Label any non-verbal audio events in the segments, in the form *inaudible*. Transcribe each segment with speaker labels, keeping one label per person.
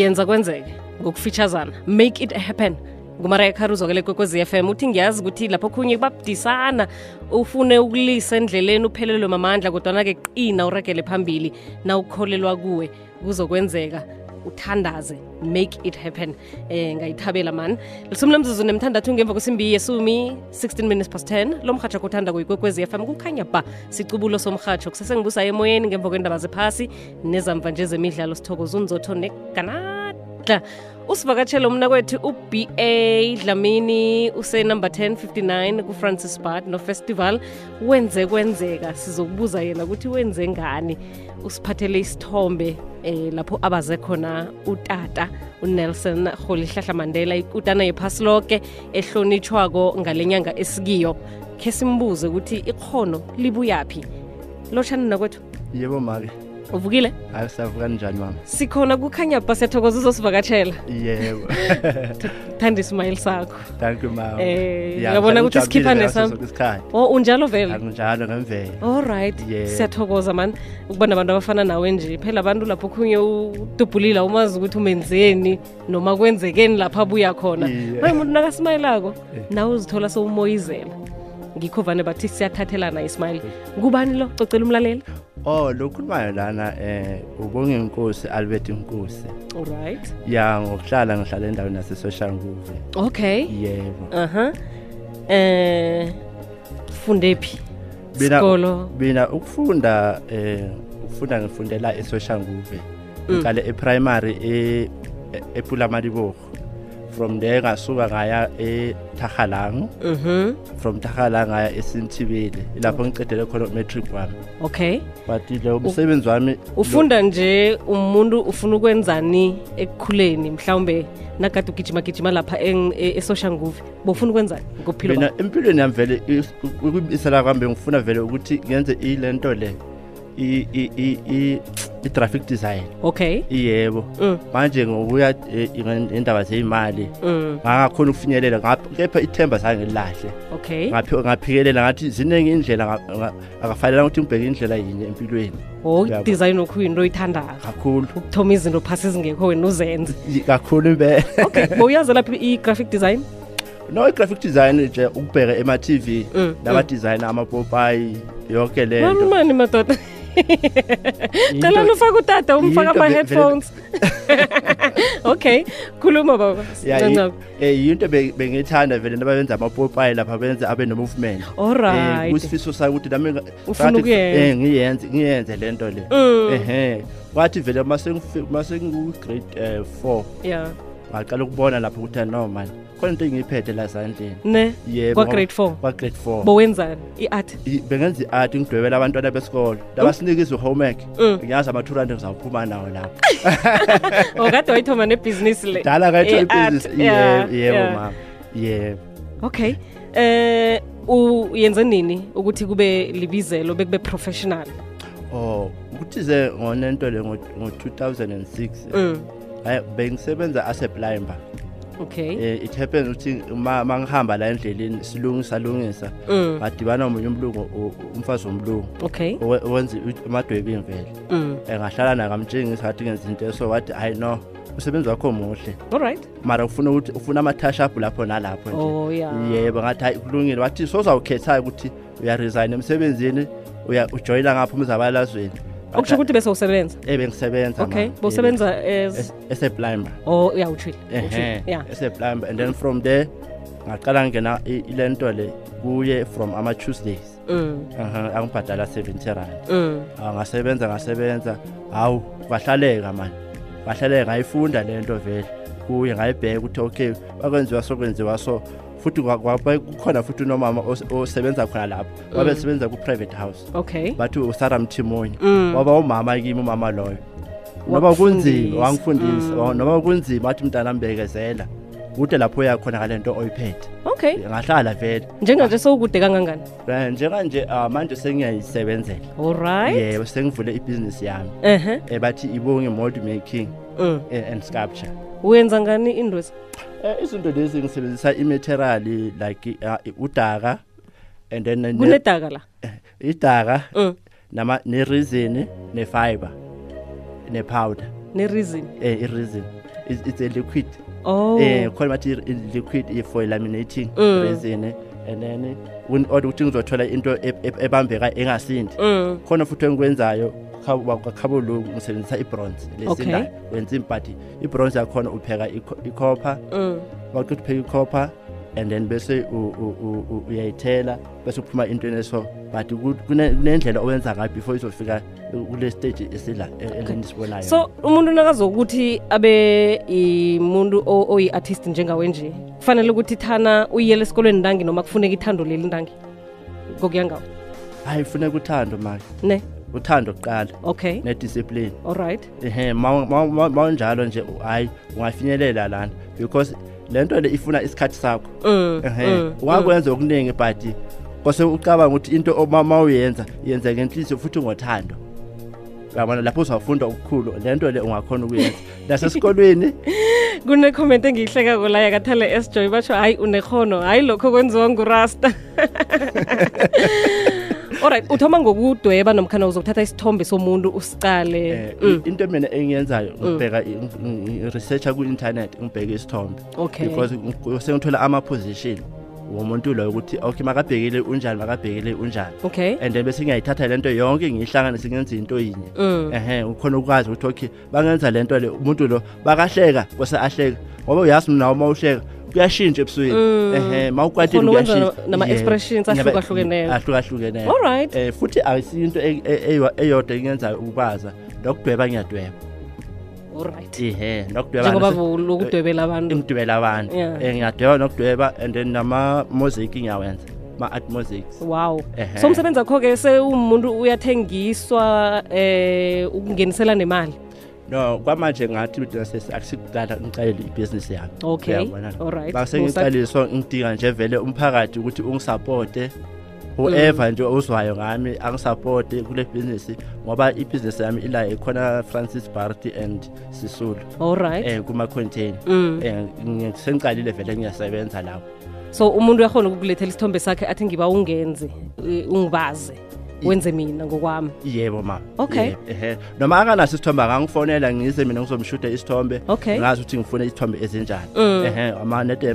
Speaker 1: yenza kwenzeke ngokufitshazana make it happen ngumaria caruso ke lekwekwezi FM uthi ngiyazi ukuthi lapho khunye kubabudisana ufune ukulisa endleleni uphelelwe mamandla kodwana-ke qina uregele phambili na ukholelwa kuwe kuzokwenzeka uthandaze make it happen eh ngayithabela mani lisumi lemzuzu nemthandathu ngemva kwesimbi yesumi 16 minutes past 10 lo mrhatsho kuthanda kuyikwekwezi fm kukhanya ba sicubulo somrhatsho kusesengibusa emoyeni ngemva kwendaba zephasi nezamva nje zemidlalo sithokoza unzotho neganada usivakatshele umnakwethu uba dlamini usenumber 1059 kufrancis bart nofestival wenze kwenzeka sizokubuza yena ukuthi wenze ngani usiphathele isithombe eh, lapho abaze khona utata unelson rholihlahla mandela ikutana yephasi loke ehlonitshwako ngale nyanga esikiyo khe simbuze ukuthi ikhono libuyaphi lotshani nakwethu
Speaker 2: yebo make
Speaker 1: uvukile
Speaker 2: alisavuka njani mama
Speaker 1: sikhona kukhanya bha siyathokoza uzosivakatshela
Speaker 2: yebo
Speaker 1: thanda ismayili sakho
Speaker 2: thank you mama
Speaker 1: Eh,
Speaker 2: Yeah,
Speaker 1: uyabona
Speaker 2: ngihlale
Speaker 1: ukuthi
Speaker 2: ngijabulile
Speaker 1: isikhipha
Speaker 2: ngaso
Speaker 1: nesam-
Speaker 2: sonke isikhathi
Speaker 1: o unjalo
Speaker 2: Ah,
Speaker 1: vele
Speaker 2: akunjalo ngemvelo
Speaker 1: allright
Speaker 2: Yeah.
Speaker 1: siyathokoza mani ukuba nabantu abafana nawe nje phela abantu lapho khunye udubhulile umazi ukuthi umenzeni noma kwenzekeni lapha abuya khona
Speaker 2: Yeah.
Speaker 1: manje umuntu nakasimayelako nawe uzithola sowumoyizela ngikho vane bathi siyathathelana ismayile kubani lo cocela umlaleli
Speaker 2: oh lokhulumayo lana eh ubonge inkosi albert inkosi
Speaker 1: allright
Speaker 2: ya ngokuhlala ngihlala endaweni yasesocial nguve
Speaker 1: okay
Speaker 2: yebo
Speaker 1: aha eh funde phi
Speaker 2: Mina-
Speaker 1: sikolo
Speaker 2: mina ukufunda eh ukufunda ngifundela esocial nguve
Speaker 1: Mm.
Speaker 2: ngale eprimary e epulamadibogo from there ngasuka ngaya eThagalanga
Speaker 1: mhm
Speaker 2: from Thagalanga ngaya eSinthibile lapho ngicedele khona umatric wami
Speaker 1: okay
Speaker 2: but lo msebenzi wami
Speaker 1: ufunda nje umuntu ufuna ukwenzani ekukhuleni mhlawumbe nagade ugijimagijima lapha eng- e- esoshanguve bofuna ukwenzani ngophilo bakho?
Speaker 2: mina empilweni yami vele ukubisela kwami ngifuna vele ukuthi ngenze ilento le i- i- i- i- i-traffic design
Speaker 1: okay
Speaker 2: iyebo
Speaker 1: Mm.
Speaker 2: manje ngokuya eh, nge- ngendaba zey'mali
Speaker 1: Mm,
Speaker 2: ngangakhona ukufinyelela ngap- kepha ithemba zange lilahle
Speaker 1: okay
Speaker 2: Ngaphi- ngaphikelela ngathi ziningi indlela nga- nga- akafanelanga ukuthi ngibheke indlela yinye empilweni
Speaker 1: o
Speaker 2: Uyabo.
Speaker 1: design okuyinto oyithandako
Speaker 2: kakhulu
Speaker 1: thoma izinto phasi ezingekho wena
Speaker 2: *laughs*
Speaker 1: uzenze
Speaker 2: Y- kakhulu impela
Speaker 1: okay bowuyazi laphi i-graphic design
Speaker 2: *laughs* no i-graphic design nje ukubheka ema-tv
Speaker 1: Mm,
Speaker 2: labadizayina amapopayi yonke le nto
Speaker 1: mamani madoda
Speaker 2: Into-
Speaker 1: cela ufake utata umfaka
Speaker 2: into ve- vele-
Speaker 1: ama-headphones *laughs* okay khuluma baba
Speaker 2: Ya, i-
Speaker 1: Sincane.
Speaker 2: eh, yinto be- bengiyithanda vele nababenza amapopayi lapha benze abe no-movement Eh,
Speaker 1: allright
Speaker 2: kusifiso sami ukuthi nami nga-
Speaker 1: Ufuna
Speaker 2: ngathi-
Speaker 1: ukuyenza. Mm.
Speaker 2: eh, ngiyenze ngiyenze le nto le ehe kwathi vele masengu-grade um four
Speaker 1: yeah
Speaker 2: ngaqala ukubona lapho ukuthi ah, no mani khona into engiyiphethe la zandleni
Speaker 1: ne Kwa-grade four?
Speaker 2: kwa-grade four
Speaker 1: bowenzani i-art
Speaker 2: I- bengenza i-art ngidwebela abantwana besikolo
Speaker 1: Mm.
Speaker 2: labasinikeza i-homework ngiyazi ama-200 ngizawuphuma nawo lapho
Speaker 1: okade wayithoma nebhizinisi le
Speaker 2: dala
Speaker 1: Eh, art,
Speaker 2: kayibusiness
Speaker 1: yeah,
Speaker 2: yebo
Speaker 1: yeah.
Speaker 2: mama yebo
Speaker 1: okay eh uyenze nini ukuthi kube libizelo bekube professional
Speaker 2: oh ukuthi ze ngonento le ngo- ngo-2006
Speaker 1: mm.
Speaker 2: eh, bengisebenza as a plumber
Speaker 1: okay
Speaker 2: Eh, it happens ukuthi ma ma ngihamba la endleleni silungisa lungisa
Speaker 1: mm.
Speaker 2: ngadibana nomunye umlungu o- umfazi womlungu
Speaker 1: okay
Speaker 2: owe- owenza i- amadwebi imvelo Eh,
Speaker 1: mm.
Speaker 2: ngahlala nakamtshengisa ngathi ngenza into eso wathi hayi no umsebenzi wakho muhle
Speaker 1: all right
Speaker 2: mara ufuna ukuthi ufuna ama-tashup lapho nalapho nje
Speaker 1: oh yeah
Speaker 2: yebo ngathi hayi kulungile wathi sozawukhetha-ke ukuthi uyaresign emsebenzini uya- ujoyina ngapho umzabalazweni
Speaker 1: okusho ukuthi bese usebenza
Speaker 2: ebengisebenza
Speaker 1: okay bowusebenza
Speaker 2: Eh.
Speaker 1: as Oh,
Speaker 2: eseplumber
Speaker 1: o ya utshile utshile. yeah
Speaker 2: eseplumber and then from there ngaqala ngena i- ilento le kuye from ama-tuesdays
Speaker 1: mm.
Speaker 2: Aha, angibhadala 70 rand
Speaker 1: Mm.
Speaker 2: Ah, ngasebenza ngasebenza hawu kwahlaleka mani kwahlaleka ngayifunda le nto vele kuye ngayibheka ukuthi okay bakwenziwa so kwenziwa so futhi kwa- kwa- kukhona futhi unomama os- osebenza khona
Speaker 1: Mm.
Speaker 2: lapho babesebenza ku-private house
Speaker 1: okay
Speaker 2: bathi usara mthimunye
Speaker 1: Mm.
Speaker 2: waba umama kimi umama loyo noma kunzima
Speaker 1: Mm.
Speaker 2: wangifundisa wa- noma kunzima wathi mntana mbekezela kude lapho uyakhona ngale nto oyiphethe
Speaker 1: okay
Speaker 2: ngahlala vele
Speaker 1: njenganje sowukude kangangani
Speaker 2: Eh, njekanje ah, manje sengiyayisebenzela
Speaker 1: all right
Speaker 2: yebo sengivule ibhizinisi yami
Speaker 1: ehe
Speaker 2: eh, bathi ibonge mold making
Speaker 1: mm.
Speaker 2: eh, and sculpture
Speaker 1: uyenza ngani indwezi
Speaker 2: eh, izinto lezi ngisebenzisa imaterial like uh, udaka and then ne-
Speaker 1: kunedaka la
Speaker 2: eh, idaka
Speaker 1: mm.
Speaker 2: nama ne-resin ne-fiber ne-powder
Speaker 1: ne-reason
Speaker 2: eh, i-resin it's, it's a liquid
Speaker 1: oh
Speaker 2: eh khona bathi i- liquid i- for laminating
Speaker 1: Mm.
Speaker 2: resin and then when oda ukuthi ngizothola into e- e- ebambeka engasindi
Speaker 1: mm.
Speaker 2: khona futhi engikwenzayo khabolo ngisebenzisa ibronze
Speaker 1: Okay.
Speaker 2: lesindayo wenza impati ibronze yakhona upheka ico- icopper
Speaker 1: Mm.
Speaker 2: waqeda upheka icopper and then bese u- u- u- u- uyayithela bese kuphuma into eneso but ku- kune- kunendlela owenza ngayo before izofika kule stage esila e- elendisibonayo
Speaker 1: so umuntu nakazokuthi abe imuntu o- oyi-artist njengawe nje kufanele ukuthi thana uyiyele esikolweni ntangi noma kufuneka ithando leli ntangi ngokuya ngawo
Speaker 2: hayi funeka uthando maki
Speaker 1: ne
Speaker 2: uthando kuqala
Speaker 1: okay
Speaker 2: nediscipline
Speaker 1: allright
Speaker 2: ehe ma- ma- ma- mawunjalo nje hayi ungafinyelela lana because le nto le ifuna isikhathi sakho
Speaker 1: mm.
Speaker 2: ehe ungakwenza okuningi but kose ucabanga ukuthi into oma- ma uyenza yenza ngenhliziyo futhi ngothando uyabona lapho uzawufunda okukhulu le nto le ungakhona ukuyenza
Speaker 1: *laughs*
Speaker 2: nasesikolweni
Speaker 1: kunecomment engiyihlekako la yakathale s joy batsho hayi unehono hayi lokho kwenziwa ngurasta *laughs* allright uthoma ngokudweba nomkhana uzokuthatha isithombe somuntu usicale
Speaker 2: eh,
Speaker 1: mm.
Speaker 2: into mina engiyenzayo ngibheka i- ngi- ngi-researcha ku-internet ngibheke isithombe
Speaker 1: Okay.
Speaker 2: because ng- sengithola ama-position womuntu loyo ukuthi okay makabhekile unjani makabhekile unjani
Speaker 1: okay
Speaker 2: and then bese ngiyayithatha lento yonke ngiyihlanganise ngenze into yinye
Speaker 1: Mm.
Speaker 2: ehe ukhona ukwazi ukuthi okay bangenza lento le umuntu lo bakahleka kose ahleka ngoba uyazi mina uma uhleka kuyashintsha ebusweni ehe mawukwatile
Speaker 1: Mm. Ukhona ukwenza
Speaker 2: kuyashintsha
Speaker 1: nama-
Speaker 2: Yeah.
Speaker 1: expressions
Speaker 2: Ngiyaba-
Speaker 1: ahlukahlukeneyo.
Speaker 2: ahlukahlukeneyo
Speaker 1: Alright.
Speaker 2: eh futhi ayisiyinto e- e- eyo- eyodwa engiyenzayo ukubaza nokudweba ngiyadweba
Speaker 1: allright
Speaker 2: ehe nokudweba
Speaker 1: njengoba
Speaker 2: nase-
Speaker 1: lokudwebela abantu
Speaker 2: engidwebela abantu
Speaker 1: Yeah.
Speaker 2: Eh, ngiyadweba nokudweba and then nama mosaic ngiyawenza ma art mosaics
Speaker 1: wow
Speaker 2: Ehhe.
Speaker 1: so umsebenzi wakho-ke sewumuntu uyathengiswa eh ukungenisela nemali
Speaker 2: no kwamanje ngathi mina sesi- akusikuqala ngicalele ibhizinisi yami
Speaker 1: Okay,
Speaker 2: Uyabona?
Speaker 1: alright.
Speaker 2: basengiqalile so ngidinga nje vele umphakathi ukuthi ungisapote whoever
Speaker 1: Mm.
Speaker 2: nje ozwayo ngami angisapote kule bhizinisi ngoba ibhizinisi yami ila ekhona francis barty and sisulu
Speaker 1: allright
Speaker 2: um kuma-contain
Speaker 1: Mm.
Speaker 2: um sengiqalile vele ngiyasebenza lapho
Speaker 1: so umuntu uyakhona ukukulethela isithombe sakhe athi ngiba ungenze eh, ungibaze wenze mina ngokwami
Speaker 2: yebo ma
Speaker 1: Okay.
Speaker 2: ehe noma akanaso isithombe akangifonela ngize mina ngizomshuda isithombe
Speaker 1: Okay.
Speaker 2: ngazi ukuthi ngifune isithombe ezinjani ehe amanede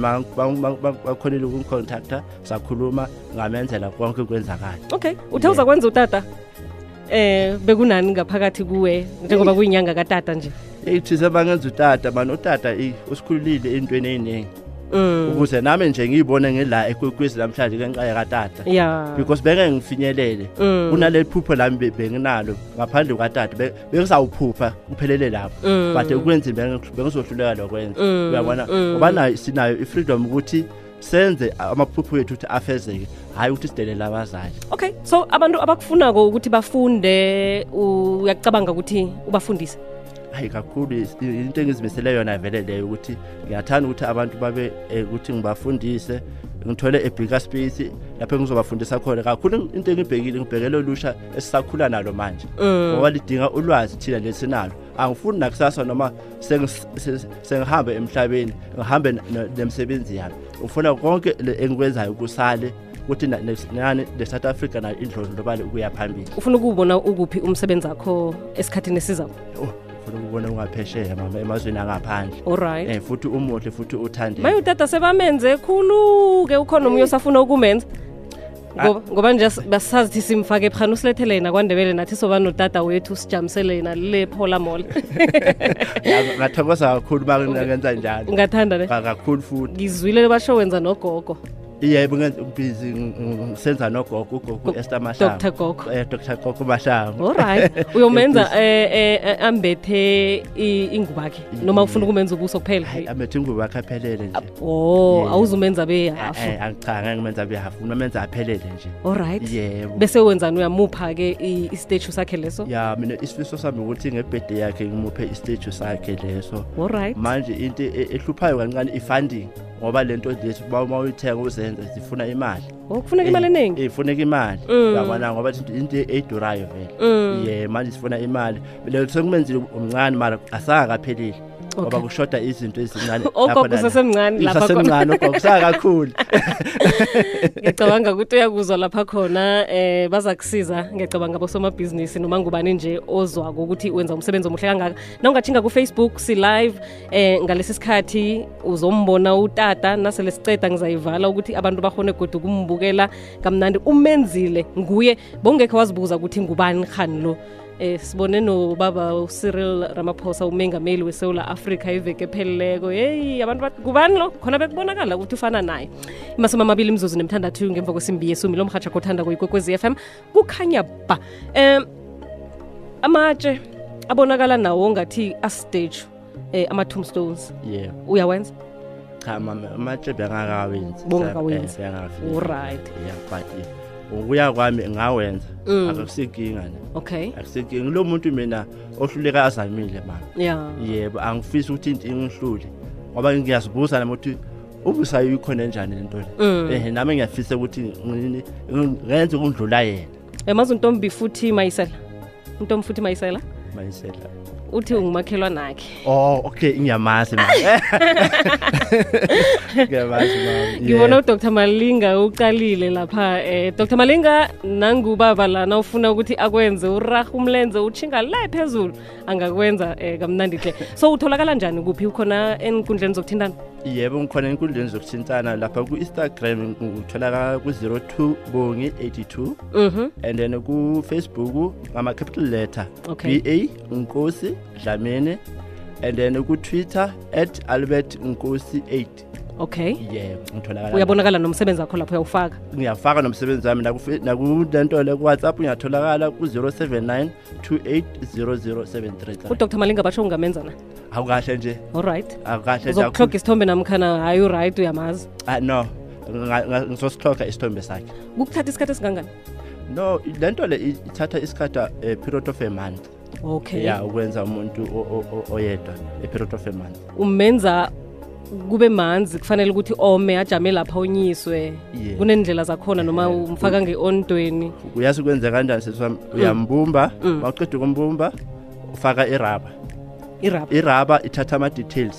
Speaker 2: bakhonile ukungicontacta sakhuluma ngamenzela konke kwenzakala
Speaker 1: okay uthe
Speaker 2: Yeah.
Speaker 1: uzakwenza utata eh bekunani ngaphakathi kuwe njengoba kuyinyanga katata nje
Speaker 2: eyi thize bangenza utata mani utata eyi usikhululile ey'ntweni ey'ningi
Speaker 1: mm.
Speaker 2: ukuze nami nje ngiyibone ngila ekwekwezi namhlanje kenqaye katata
Speaker 1: ya
Speaker 2: because beke ngifinyelele
Speaker 1: Mm.
Speaker 2: kunale phupho lami be- benginalo ngaphandle kwatata Be- bengisawuphupha kuphelele lapho
Speaker 1: Mm.
Speaker 2: but ukwenza bengi- bengizohluleka lokwenza
Speaker 1: Mm.
Speaker 2: uyabona
Speaker 1: Mm.
Speaker 2: ngoba nayo sinayo i-freedom ukuthi senze amaphupho wethu ukuthi afezeke hhayi ukuthi sidelele abazali
Speaker 1: okay so abantu abakufunako ukuthi bafunde uyacabanga ukuthi ubafundise
Speaker 2: hayi kakhulu is- i- into engizimisele yona vele leyo ukuthi ngiyathanda ukuthi abantu babe eh, ukuthi ngibafundise ngithole ebigger space lapho engizobafundisa khona kakhulu into engibhekile ngibhekele olusha esisakhula nalo manje ngoba lidinga ulwazi thina lesinalo angifuni nakusasa noma sengis- se- sengihambe emhlabeni ngihambe n- n- nemsebenzi yami ngifuna konke le- engikwenzayo kusale ukuthi na- nes- nani le-south africa nayo indlondlobale ukuya phambili
Speaker 1: ufuna ukuwubona ukuphi umsebenzi wakho esikhathini esizako
Speaker 2: Oh, ngifuna ukubona kungaphesheya mama emazweni angaphandle
Speaker 1: allright
Speaker 2: eh futhi umuhle futhi
Speaker 1: maye
Speaker 2: uthande
Speaker 1: utata sebamenze khulu-ke ukhona omunye osafuna ukumenza
Speaker 2: Ah.
Speaker 1: ngoba ngoba nje as- basazi thi simfake phana usilethele yena kwandebele nathi soba notata wethu sijamisele yena le phola
Speaker 2: *laughs*
Speaker 1: mall
Speaker 2: ngathokoza kakhulu uma ngenza njalo
Speaker 1: ungathanda ne
Speaker 2: Ka- kakhulu futhi
Speaker 1: ngizwile basho wenza nogogo
Speaker 2: yebo ngenza ubhizi ngisenza nogogo ugogo
Speaker 1: Go-
Speaker 2: Esther Mahlangu
Speaker 1: dr gogo
Speaker 2: eh Dr Gogo Mahlangu
Speaker 1: allright uyomenza eh, eh, eh, ambethe i- ingubakhe noma ufuna ukumenza ubuso
Speaker 2: *laughs* hayi
Speaker 1: kuphela
Speaker 2: amethe ngubo akaphelele nje
Speaker 1: o
Speaker 2: Yeah.
Speaker 1: awuzumenza behafu
Speaker 2: Eh, eh, cha ngeke ngimenza behafu ngimenza aphelele nje
Speaker 1: allright
Speaker 2: yebo
Speaker 1: bese wenzani uyamupha-ke i- istatue sakhe leso
Speaker 2: ya mina isifiso sami ukuthi ngebhede yakhe ngimuphe istatue sakhe leso
Speaker 1: allright
Speaker 2: manje into e- ehluphayo kancane i-funding ngoba lento lethi uma uyithenga uzenze zifuna imali
Speaker 1: Oh, kufuneka
Speaker 2: Eh.
Speaker 1: imali eningi
Speaker 2: ifuneka imali
Speaker 1: Mm.
Speaker 2: yabona ngoba into into edurayo vele
Speaker 1: Mm.
Speaker 2: ye manje sifuna imali leyo sekumenzile umncane mara asanga kaphelile ngoba kushoda izinto ezincane
Speaker 1: *laughs* Ogogo
Speaker 2: lapha nala.
Speaker 1: usasemncane lapha khona. *laughs*
Speaker 2: Usasemncane, ogogo *laughs* usakakhulu
Speaker 1: ngiyacabanga ukuthi uyakuzwa lapha khona eh baza kusiza ngiyacabanga bosomabhizinisi noma ngubani nje ozwako ukuthi wenza umsebenzi omuhle kangaka na ungatshinga kufacebook si-live eh ngalesi sikhathi uzombona utata nasele siceda ngizayivala ukuthi abantu bahone godu ukumbukela kamnandi umenzile nguye bongekho wazibuza ukuthi ngubani khani lo Eh sibone nobaba uCyril Ramaphosa umengameli weSouth Africa iveke epheleleko hey abantu bathi kubani lo khona bekubonakala ukuthi ufana naye imasumi amabili imzuzu nemthandathu ngemva kwesimbi yesumi lomhatsha kothanda kuyikwekwezi FM kukhanya ba um amatshe abonakala nawo ngathi astage eh ama-tombstones
Speaker 2: yebo
Speaker 1: uyawenza
Speaker 2: cha mama amatshe bengakawenzi
Speaker 1: Bongakawenzi.
Speaker 2: Eh, bengakawenzi.
Speaker 1: Alright.
Speaker 2: yeah but eh, ukuya kwami ngawenza
Speaker 1: Mm.
Speaker 2: akusinkinga ne
Speaker 1: okay
Speaker 2: akusinkinga lo muntu mina ohluleka azamile mama
Speaker 1: ya
Speaker 2: yebo angifisi ukuthi into ingihlule ngoba ngiyazibuza nami ukuthi ubusayo ikhona njani lento
Speaker 1: Mm.
Speaker 2: le eh nami ngiyafisa ukuthi ngini- ngi- ngenze ukundlula yena
Speaker 1: emazi Eh, untombi futhi mayisela untombi futhi mayisela
Speaker 2: mayisela
Speaker 1: uthi ungumakhelwana akhe
Speaker 2: oh okay ngiyamazi mama *laughs* ngiyamazi mama
Speaker 1: ngibona udr malinga uqalile lapha eh dr malinga nangubaba lana ufuna ukuthi akwenze urah umlenze utshinga le phezulu angakwenza eh, kamnandi hle so utholakala njani kuphi ukhona enkundleni zokuthintana
Speaker 2: yebo ngikhona enkundleni zokuthintana lapha ku-instagram ngitholakala ku-02 bongi 82
Speaker 1: mhm
Speaker 2: and then ku-facebook ngama-capital letter
Speaker 1: Okay.
Speaker 2: ba nkosi dlamini and then ku-twitter at albert nkosi 8
Speaker 1: okay
Speaker 2: yebo ngitholakala
Speaker 1: uyabonakala nomsebenzi wakho lapho uyawufaka
Speaker 2: ngiyafaka nomsebenzi wami nakufe- nakulento le ku-whatsapp ngiyatholakala ku-079 280073
Speaker 1: udr malinga batsho ungamenza na
Speaker 2: akukahle nje
Speaker 1: allright
Speaker 2: akukahle nje akukho-
Speaker 1: uzokuhloga isithombe namkhana hayi uright uyamazi
Speaker 2: Ah, no Nga- nga- ngizosihloga isithombe sakhe
Speaker 1: kukuthatha isikhathi esingangani
Speaker 2: no le nto le i- ithatha isikhathi a period of a month
Speaker 1: okay
Speaker 2: ya ukwenza umuntu o- o- o- oyedwa a period of a month
Speaker 1: umenza kube manzi kufanele ukuthi ome ajame lapha onyiswe
Speaker 2: Yeah.
Speaker 1: kunendlela zakhona noma
Speaker 2: Yeah.
Speaker 1: umfaka nge-ondweni
Speaker 2: uyazi ukwenza kanjani sesami uyambumba mawuqeda ukumbumba ufaka iraba
Speaker 1: irap
Speaker 2: iraba ithatha ama-details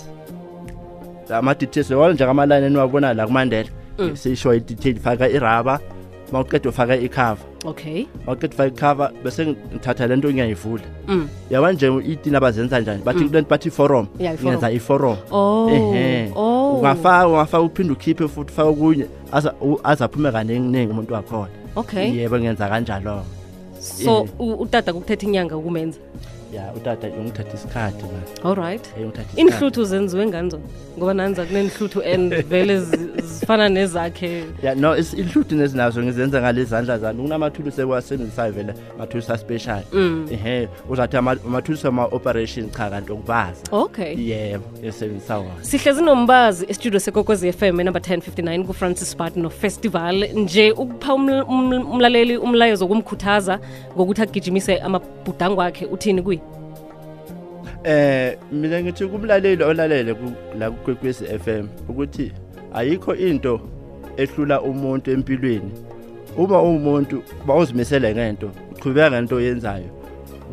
Speaker 2: ama-details lewona njengamalayini eniwabona la kumandela siyisho i-detail faka iraba mawuqeda ufaka ikhava
Speaker 1: okay
Speaker 2: mawuqeda ufaka ikhava bese ngithatha le nto ngiyayivula
Speaker 1: mm.
Speaker 2: yaba nje itin abazenza njani bathi kulento bathi iforum
Speaker 1: Yeah, iforum.
Speaker 2: ngenza iforum
Speaker 1: Oh,
Speaker 2: Ehhe.
Speaker 1: oh.
Speaker 2: ungafaka ungafaka uphinde ukhiphe futhi ufake okunye aza- u- aze aphume kaninginingi umuntu wakhona
Speaker 1: okay
Speaker 2: yebo ngenza kanjalo
Speaker 1: so
Speaker 2: yeah.
Speaker 1: u- utata kukuthetha inyanga ukumenza
Speaker 2: ya utata ungithatha isikhathi manje
Speaker 1: all right
Speaker 2: ungithatha isikhathi
Speaker 1: inhluthu zenziwe ngani zona ngoba nanza kunenhluthu and
Speaker 2: *laughs*
Speaker 1: vele zi- zifana nezakhe
Speaker 2: ya no is- inhluthu nezinazo ngizenza ngalezandla zami kunamathulusi ekuwasebenzisayo vele amathulusi aspecial
Speaker 1: Mm.
Speaker 2: ehe uzathi ama- amathulusi ama-operation cha kanti okubaza
Speaker 1: okay
Speaker 2: yebo esebenzisa wona
Speaker 1: sihle zinombazi estudio sekokwezi fm enumber 1059 kufrancis part nofestival nje ukupha uml- uml- umlaleli umlayezo wokumkhuthaza ngokuthi agijimise amabhudango akhe uthini kuye
Speaker 2: Eh mina ngithi kumlaleli olalele ku- la kuKwekwezi FM ukuthi ayikho into ehlula umuntu empilweni. Uma uwumuntu bawuzimisele ngento, uqhubeka ngento oyenzayo.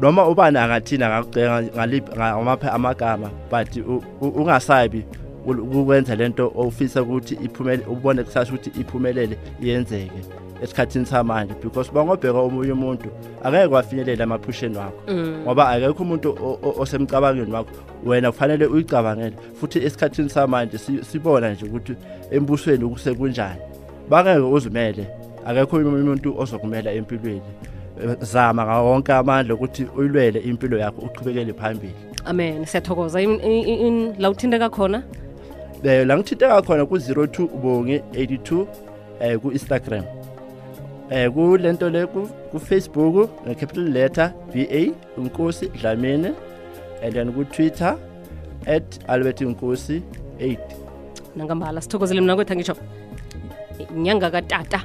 Speaker 2: Noma ubani angathina ngakucenga ngaliphi ngamaphi amagama but u- u- ungasabi ul- ukwenza lento ofisa ukuthi iphumele ubone kusasa ukuthi iphumelele iyenzeke esikhathini samanje because bangobheka omunye umuntu angeke wafinyelela amaphusheni wakho ngoba akekho umuntu o- o- osemcabangeni wakho wena kufanele uyicabangele futhi esikhathini samanje si- sibona nje ukuthi embusweni ukusekunjani bangeke uzimele akekho omunye umuntu ozokumela empilweni Eh, zama ngawo wonke amandla ukuthi uyilwele impilo yakho uqhubekele phambili
Speaker 1: amen siyathokoza In- in- in- in- la uthinteka khona
Speaker 2: um la ngithinteka khona ku-02 bongi 82 um ku-instagram um kule nto le ku- kufacebook ngecapital letter b a nkosi dlamini and then kutwitter at albert nkosi 8
Speaker 1: nangambala sithokozele mna kwethu angisho inyanga katata